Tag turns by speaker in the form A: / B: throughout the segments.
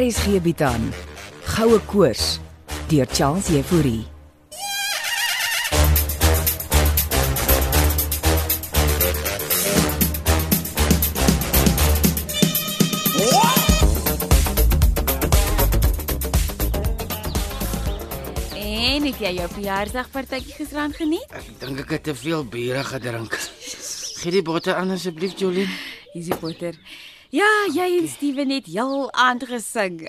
A: RSG bied aan Goue Koors deur Charles Euphorie.
B: En het jy jou verjaarsdagpartytjie gisteraan geniet?
C: Ek dink ek het te veel biere gedrink. Gee die botter aan asseblief, Jolien.
B: Easy Potter. Ja, jy en Steven het heel aand gesing.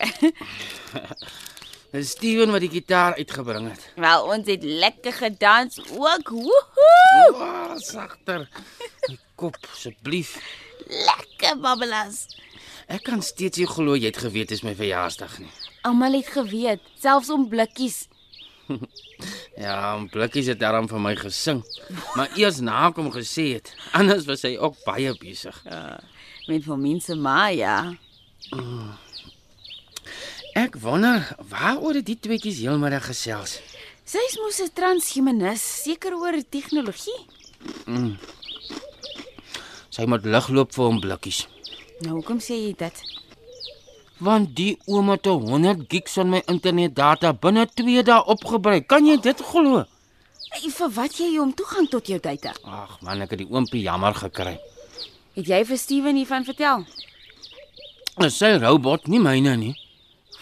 C: Dis Steven wat die gitaar uitgebring het.
B: Wel, ons het lekker gedans ook. Woehoe!
C: Waa, sagter. Die kop asseblief.
B: Lekker babbelas.
C: Ek kan steeds nie glo jy het geweet dis my verjaarsdag nie.
B: Almal het geweet, selfs om blikkies.
C: Ja, en blikkies het daarom vir my gesing, maar eers na ek hom gesê het. Anders was hy ook baie besig.
B: Met van mense maar ja.
C: Ek wonder waaroor het die tweetjies heelmiddag gesels.
B: Sy's mos 'n transhumanis, seker oor tegnologie.
C: Sy moet ligloop vir hom blikkies.
B: Nou hoekom sê jy dit?
C: Want die oom het 100 gigs van my internetdata binne 2 dae opgebruik. Kan jy dit glo?
B: Ey, Vir wat jy hom toegang tot jou data?
C: Ag man, ek het die oompie jammer gekry.
B: Het jy vir Steven hiervan vertel?
C: Dis sy robot, nie myne nie.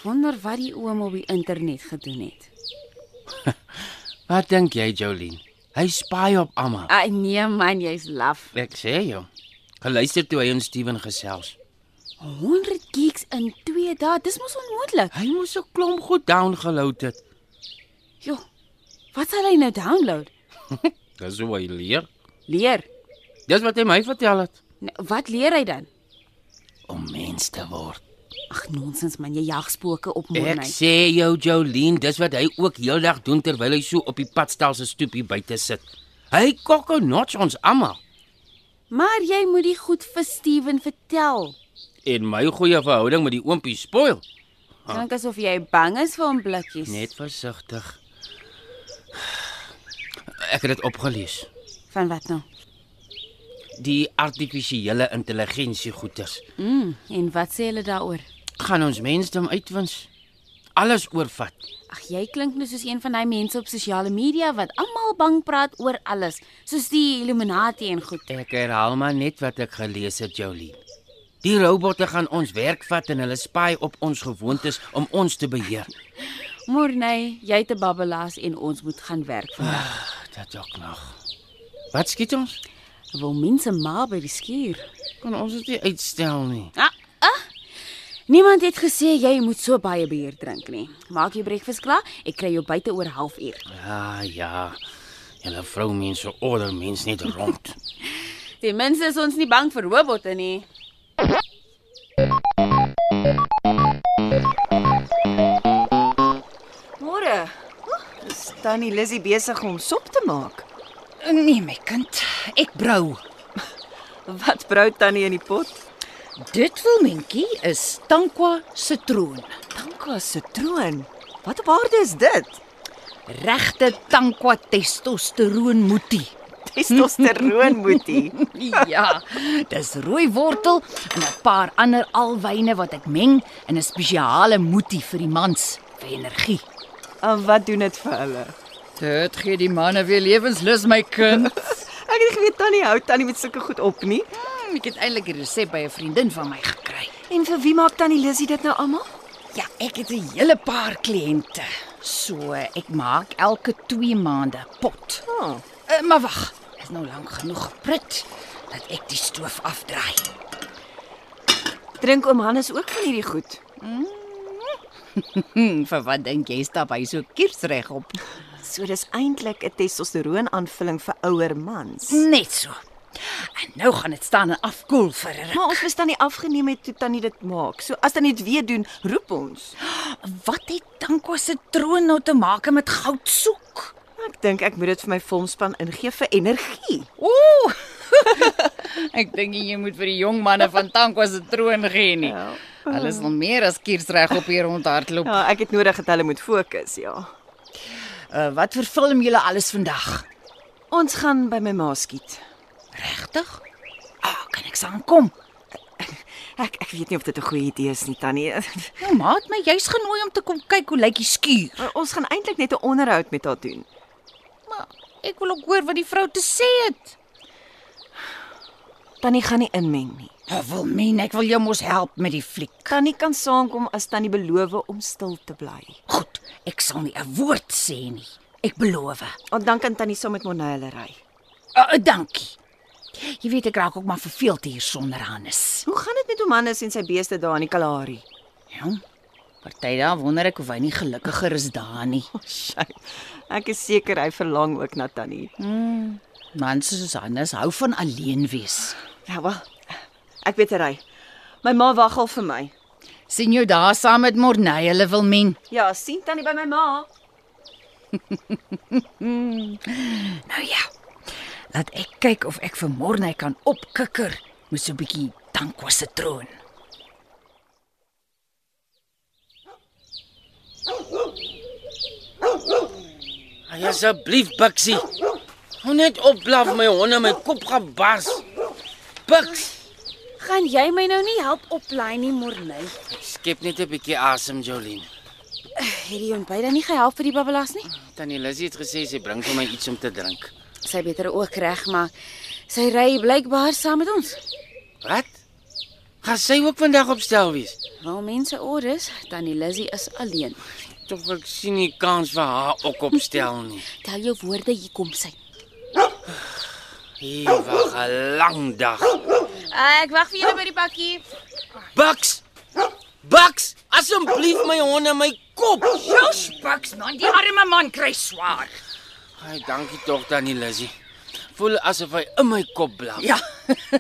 B: Wonder wat die oom op die internet gedoen het.
C: Wat dink jy, Jolene? Hy spy op Amma.
B: Ai nee man, jy's laf.
C: Ek sê jou. Geluister toe hy en Steven gesels.
B: 100 gigs in 2 dae, dis mos onmoontlik.
C: Hy moes 'n klomp goed downgeload het.
B: Jo. Wat sal hy nou download?
C: Dis hoe hy leer.
B: Leer.
C: Dis wat hy my vertel het
B: Nou, wat leer hy dan?
C: om mens te word.
B: Ag nonsens man, jy jag spooke op môre
C: Ek
B: nag.
C: sê jou, Jolene, dis wat hy ook heeldag doen terwyl hy so op die padstal se stoep hier buite sit. Hy kokkonots ons almal.
B: Maar jy moet die goed vir Steven vertel.
C: En my goeie verhouding met die oompie spoil.
B: Klink asof jy bang is vir hom blikkies.
C: Net versigtig. Ek het dit opgelees.
B: Van wat nou?
C: Die artifisiële intelligensie goeters
B: Mm, en wat sê hulle daaroor?
C: gaan ons mensdom uitwins. Alles oorvat.
B: Ag jy klink nou soos een van daai mense op sosiale media wat almal bang praat oor alles, soos die Illuminati en goed.
C: Ek herhaal maar net wat ek gelees het, Jolien. Die robotte gaan ons werk vat en hulle spy op ons gewoontes om ons te beheer.
B: Morney, nee, jy te babbelas en ons moet gaan werk vandag.
C: Dit ook nog. Wat skiet ons?
B: Wil mense maar by die skuur.
C: Kan ons dit nie uitstel nie.
B: Ah, ah. Niemand het gesê jy moet so baie bier drink nie. Maak jou breakfast klaar. Ek kry jou buite oor 0.5 uur.
C: Ja, ja. Julle vroumense order mens net rond.
B: Ten minste is ons nie bang vir robotte nie.
D: Môre. Is Tannie Lizzy besig om sop te maak?
E: Nee my kind, ek brou.
D: Wat brou Tannie in die pot?
E: Dit filmentjie is Tankwa sitroen.
D: Tanka sitroon. Wat op aarde is dit?
E: Regte Tankwa testosteroon moetie.
D: Testosteroon moetie.
E: Ja, dis rooi wortel en 'n paar ander alwyne wat ek meng in 'n spesiale moetie vir die mans vir energie.
D: En wat doen dit vir hulle?
E: Dit gee die manne weer lewenslus my kind.
D: Ek het nie geweet Tannie hou Tannie met sulke goed op nie.
E: Hmm, ek het eintlik 'n resep by 'n vriendin van my gekry.
D: En vir wie maak Tannie Lizzy dit nou almal?
E: Ja, ek het 'n hele paar kliënte. So, ek maak elke 2 maande 'n pot.
D: Oh.
E: Uh, maar wag, is nou lank genoeg geprit dat ek die stoof afdraai.
D: Drink oom Hannes ook van hierdie goed?
E: Hm, vir wat dink jy stap hy so kiersreg op?
D: So dis eintlik 'n testosteroon aanvulling vir ouer mans.
E: Net so. En nou gaan dit staan en afkoel vir 'n
D: Maar ons was tannie afgeneem het toe tannie dit maak. So as tannie dit weer doen, roep ons.
E: ruk. Wat het Danko se troon nou te maak met goud soek?
D: Ek dink ek moet dit vir my volmspan ingee vir energie.
E: Ooh! Ek dink nie jy moet vir die jong manne van Danko se troon gee nie.
D: Ja.
E: Hulle is al meer as kiersreg op hier rondhardloop.
D: Ja, ek het nodig dat hulle moet fokus, ja.
E: Uh, wat vir film julle alles vandag?
D: Ons gaan by my ma skiet.
E: Regtig? Ah, oh, kan ek saamkom?
D: Ek ek weet nie of dit 'n goeie idee is nie, Tannie.
E: Nou maat my, jy's genooi om te kom kyk hoe lyk die skuur.
D: Ons gaan eintlik net 'n onderhoud met haar doen.
E: Maar ek wil ook hoor wat die vrou te sê het.
D: Tannie gaan nie inmeng nie.
E: Ek wil men, ek wil jou mos help met die fliek.
D: Tannie kan saamkom as Tannie beloof om stil te bly.
E: Goed, ek sal nie 'n woord sê nie. Ek beloof. Eh,
D: En dan kan Tannie saam met Monale ry.
E: Uh, dankie. Jy weet ek raak ook maar verveeld hier sonder Hannes.
D: Hoe gaan dit met Omanus en sy beeste daar in die Kalahari?
E: Ja. Party daar wonder ek of hy nie gelukkiger is daar nie.
D: Sy. Ek is seker hy verlang ook na Tannie.
E: Mans soos Hannes hou van alleen wees.
D: Nou wel. Ek weet hy ry. My ma wag al vir my.
E: sien jou daar saam met Morney, hulle wil men.
D: Ja, sien Tannie by my ma.
E: Nou ja. Laat ek kyk of ek vir Morney kan opkikker met so 'n bietjie tankwa se troon.
C: Ai asseblief Bixie. Hou net op blaf my honde my kop gaan bars. Bix,
B: Gaan jy my nou nie help oplei nie, Morney?
C: skep net 'n bietjie asem Jolene.
B: Hierdie ontbyt dan nie gehelp vir die babbelas nie.
C: Tannie Lizzie het gesê sy bring vir my iets om te drink.
B: Sy beter ook reg, maar sy ry blykbaar saam met ons.
C: Wat? Gaan sy ook vandag opstel wees?
B: Wel mense orders, tannie Lizzy is alleen.
C: Tog ek sien nie kans vir haar ook opstel nie.
B: Tel jou woorde, hier kom sy.
C: Hier was 'n lang dag.
B: Uh, ek wag vir julle by die pakkie.
C: Bux! Bux, asseblief my honde my kop.
E: Josh Bucks man, die arme man kry swaar.
C: Ai, dankie tog Tannie Lizzie. Voel asof hy in my kop blaf.
E: Ja.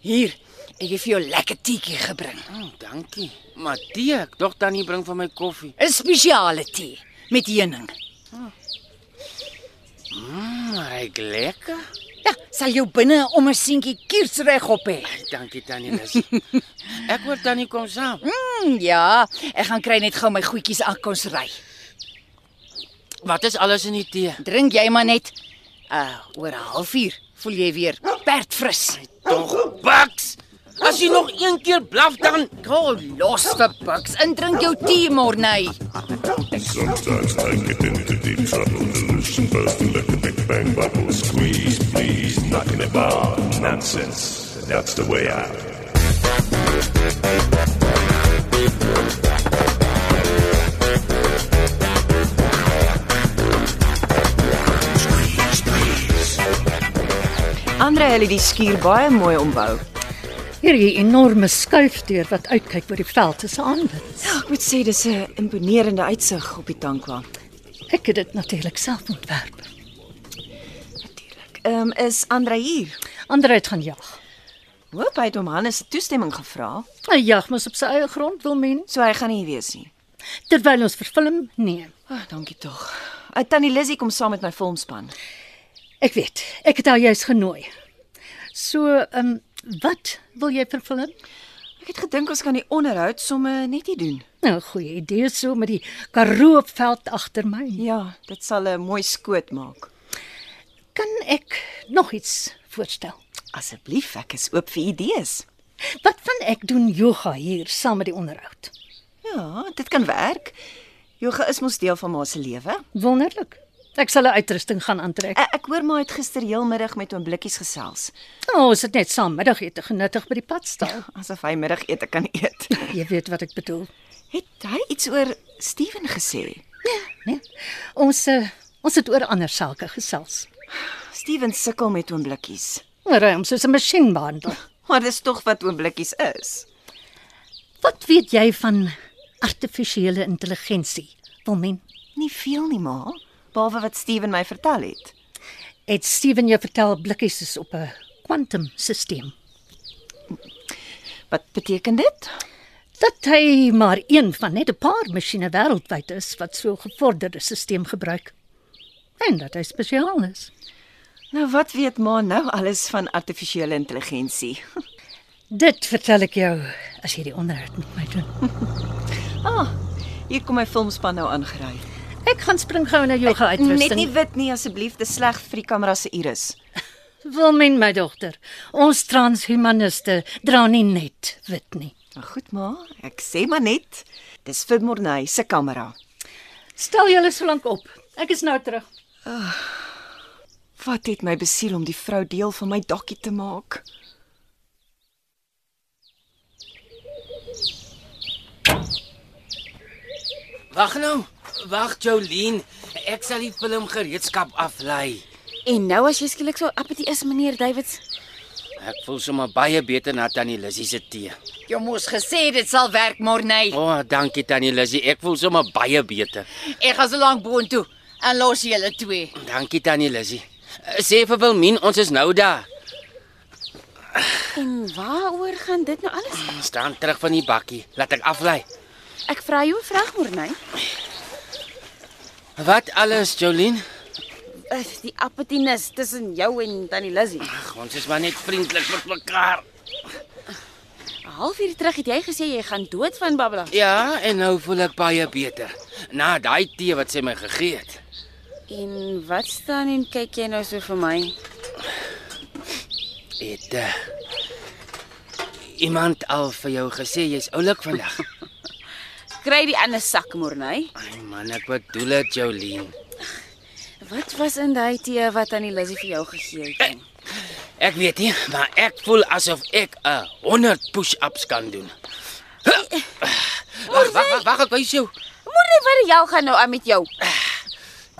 E: Hier, ek het vir jou lekker teetjie gebring.
C: Oh, dankie. Maar tee, ek dog Tannie bring vir my koffie.
E: 'n Spesiale tee met heuning.
C: Maar hy Ah, lekker.
E: Ja, sal jou binne om 'n seentjie kiersreg op hê.
C: Ai, dankie Tannie Lizzie. ek hoor Tannie kom saam.
E: Mm, ja, ek gaan kry net gou my goedjies aan kos ry.
C: Wat is alles in die tee?
E: Drink jy maar net. Uh, oor 'n halfuur voel jy weer perdfris.
C: Tog Bux. As jy nog een keer blaf dan,
E: Gou los vir Bucks, indrink jou tee môre.
F: Sometimes I get into deep trouble, delusion bursting like the Big Bang bubble. Squeeze, please, knocking about nonsense. That's the way out.
D: Andre het die skuur baie mooi ombou.
G: Hierdie enorme skuifdeur wat uitkyk oor die veld is 'n aanbid.
D: Ja, ek moet sê dis 'n imponerende uitsig op die tankwa.
G: Ek het dit natuurlik self ontwerp.
D: Natuurlik. Ehm um, is Andre hier?
G: Ander het gaan jag.
D: Hoop hy het om Hannes se toestemming gevra,
G: Hy jag mos op sy eie grond wil men,
D: so hy gaan nie hier wees nie.
G: terwyl ons verfilm nee.
D: Ag, oh, dankie tog. Uh, Tannie Lizzy kom saam met my filmspan.
G: Ek weet, ek het haar juis genooi. So, ehm um, wat wil jy verfilm?
D: Ek het gedink ons kan die onderhoud somme net hier doen.
G: Nou, 'n goeie idee so met die Karoo veld agter my.
D: Ja, dit sal 'n mooi skoot maak.
G: Kan ek nog iets voorstel?
D: Asseblief, ek is oop vir idees.
G: Wat van ek doen yoga hier saam met die onderhoud?
D: Ja, dit kan werk. Yoga is mos deel van ma se lewe. Eh,
G: Wonderlik. Ek sal 'n uitrusting gaan aantrek.
D: Ek, ek hoor maar het gister heelmiddag met hom blikkies gesels,
G: Oh, ons het net saam middagete genuttig by die padstal.
D: asof hy middagete kan eet.
G: Jy weet wat ek bedoel.
D: Het hy iets oor Steven gesê?
G: Nee. Ons eh, ons het oor ander sake gesels.
D: Steven sukkel met oom blikkies.
G: Maar eh, hy hom soos 'n masjien behandel.
D: Maar dis tog wat oom blikkies is.
G: Wat weet jy van artifisiële intelligensie? Wilmen,
D: Nie veel nie, ma, behalwe wat Steven my vertel het.
G: het Steven jou vertel blikkies is op 'n kwantumstelsel.
D: Wat beteken dit?
G: Dat hy maar een van net 'n paar masjiene wêreldwyd is wat so 'n gevorderde stelsel gebruik. En dat hy spesiaal is.
D: Nou wat weet ma nou alles van artifisiële intelligensie?
G: Dit vertel ek jou as jy die onderhoud met my doen.
D: Ah, hier kom my filmspan nou aangery.
G: Ek gaan spring gou na yoga uitrusting.
D: Net nie wit nie asseblief, dis sleg vir die kamera se iris.
G: Wil men my dogter, ons transhumaniste dra nie net wit nie.
D: Nou goed ma, ek sê maar net, dis vir Morney se kamera.
G: Stel julle so lank op. Ek is nou terug.
D: Wat het my besiel om die vrou deel van my dokkie te maak?
C: Wag nou. Wag Jolien, ek sal die filmgereedskap aflei.
B: En nou as jy skielik so appetie is, meneer Davids,
C: Ek voel sommer baie beter na Tannie Lissy se tee.
E: Jy moes gesê dit sal werk, Morney.
C: O, oh, dankie Tannie Lissy. Ek voel sommer baie beter.
E: Ek gaan so lank boontoe en los julle twee.
C: Dankie Tannie Lissy. Sê vir Wilmien, ons is nou daar.
B: en waaroor gaan dit nou alles?
C: Staan terug van die bakkie. Laat ek aflei.
B: Ek vra jou 'n vraag, Morney.
C: Wat alles Jolien?
B: Is die appetienis tussen jou en Tannie Lizzy?
C: Ag, ons is maar net vriendelik met mekaar.
B: 'n Halfuur terug het jy gesê jy gaan dood van babbel.
C: Ja, en nou voel ek baie beter. Na daai tee wat sy my gegee het.
B: En wat staan en kyk jy nou so vir my?
C: Het uh, iemand al vir jou gesê jy's oulik vandag?
B: Kry die ander sak, Morney.
C: Ai man, ek bedoel dit Jolien.
B: Wat was in daai tee wat Tannie Lizzy vir jou gegee het?
C: Ek weet nie, maar ek voel asof ek 'n 100 push-ups kan doen. Huh. Eh, Wag, wag, wag, wag, ek wys jou.
B: Morney, wat die jou gaan nou aan met jou?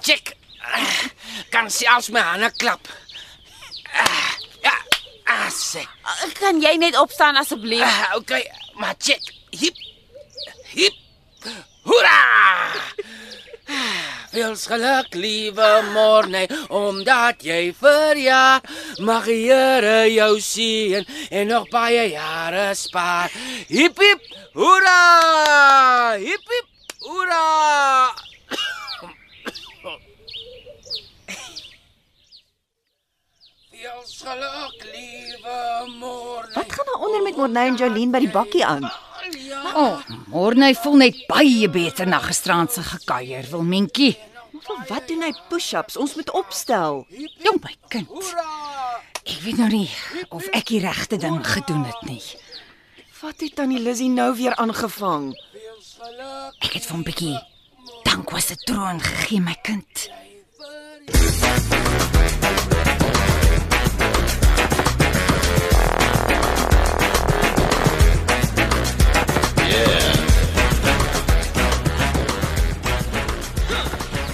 C: Check. Eh, Kan selfs my hande klap. Ah, Ja, ah, sê.
B: Kan jy net opstaan asseblief?
C: Ah, okay, maar check. Hip. Hip. Hoera! Wees geluk, liewe Morne, omdat jy verjaar. Mag die Here jou seën en nog baie jare spaar. Hip hip, hoera! Hip hip, hoera! Wees geluk, liewe Morne.
D: Wat gaan daar onder met Morney en Jolene by die bakkie aan?
E: O, oh, Morney voel net baie beter na gisteraand se gekuier, Wilmentjie.
D: Maar wat doen hy push-ups? Ons moet opstel.
E: Jong my kind. Ek weet nou nie of ek die regte ding gedoen het nie.
D: Wat het tannie Lizzy nou weer aangevang?
E: Ek het van 'n bietjie dank was 'n troon gegee my kind.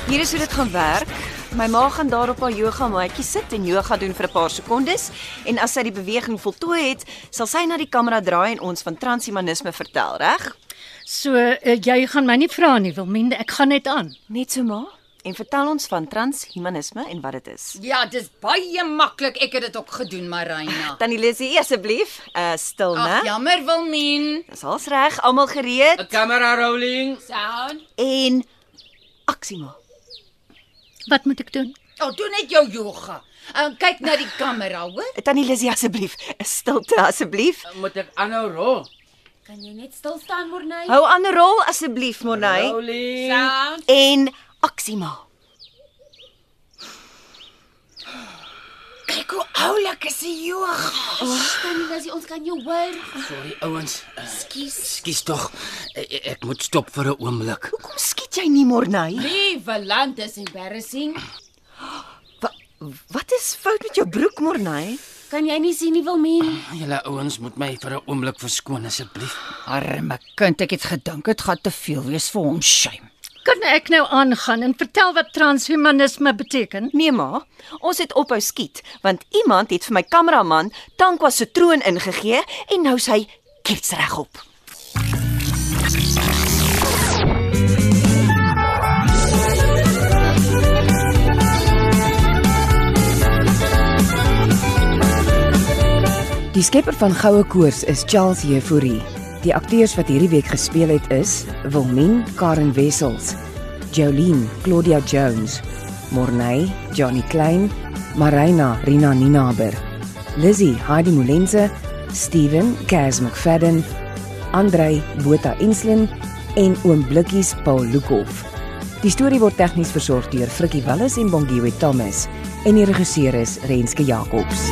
D: Hier is hoe dit gaan werk. My ma gaan daar op haar yoga matjie sit en yoga doen vir 'n paar sekondes en as sy die beweging voltooi het, sal sy na die kamera draai en ons van transhumanisme vertel, reg?
G: So uh, jy gaan my nie vra nie, Wilmien, ek gaan net aan.
D: Net so ma. En vertel ons van transhumanisme en wat dit is.
E: Ja, dis baie maklik. Ek het dit ook gedoen, Marina.
D: Tannie Lizzy, asseblief, uh stil, né?
E: jammer Wilmien.
D: Dis al's reg, almal gereed
C: Camera rolling.
E: Sound.
D: en aksie ma.
G: Wat moet ek doen?
E: O, oh, doen net jou yoga. En kyk na die kamera, hoor?
D: Eh, Tannie Lizzy, asseblief, stilte asseblief.
C: Moet ek aanhou rol?
B: Kan jy net stil staan, Morney?
D: Hou aan rol asseblief, Monay
C: Rolling.
B: Sound.
D: en aksie ma.
E: Kyk hoe oulik is die yoga.
B: Tannie Lizzy, ons kan jou hoor.
C: Sorry ouens. Skus. Skus tog. Ek, ek moet stop vir 'n oomblik.
D: Hoekom skiet jy nie, Monay?
E: Liewe land, dis embarrassing.
D: Wa wat is fout met jou broek, Morney?
B: Kan jy nie sien nie, Wilmien?
C: Julle ouens moet my vir 'n oomblik verskoon asseblief.
E: Arme kind, ek het gedink dit gaan te veel wees vir hom, shame.
G: Kan ek nou aangaan en vertel wat transhumanisme beteken?
D: Nee ma, ons het ophou skiet want iemand het vir my kameraman Tankwa se troon ingegee en nou sy kiets regop.
A: Die skepper van Goue Koors is Charles Jefouri. Die akteurs wat hierdie week gespeel het is Wilmien Karen Wessels, Jolene Claudia Jones, Morney Johnny Klein, Marina Rina Ninaber, Lizzy Heidi Molense, Steven Gaz McFadden, Andrei Botha Enslin en Oom Blikkies Paul Lukhof. Die storie word tegnies versorg deur Frikkie Wallis en Bongwe Thomas en die regisseur is Renske Jacobs.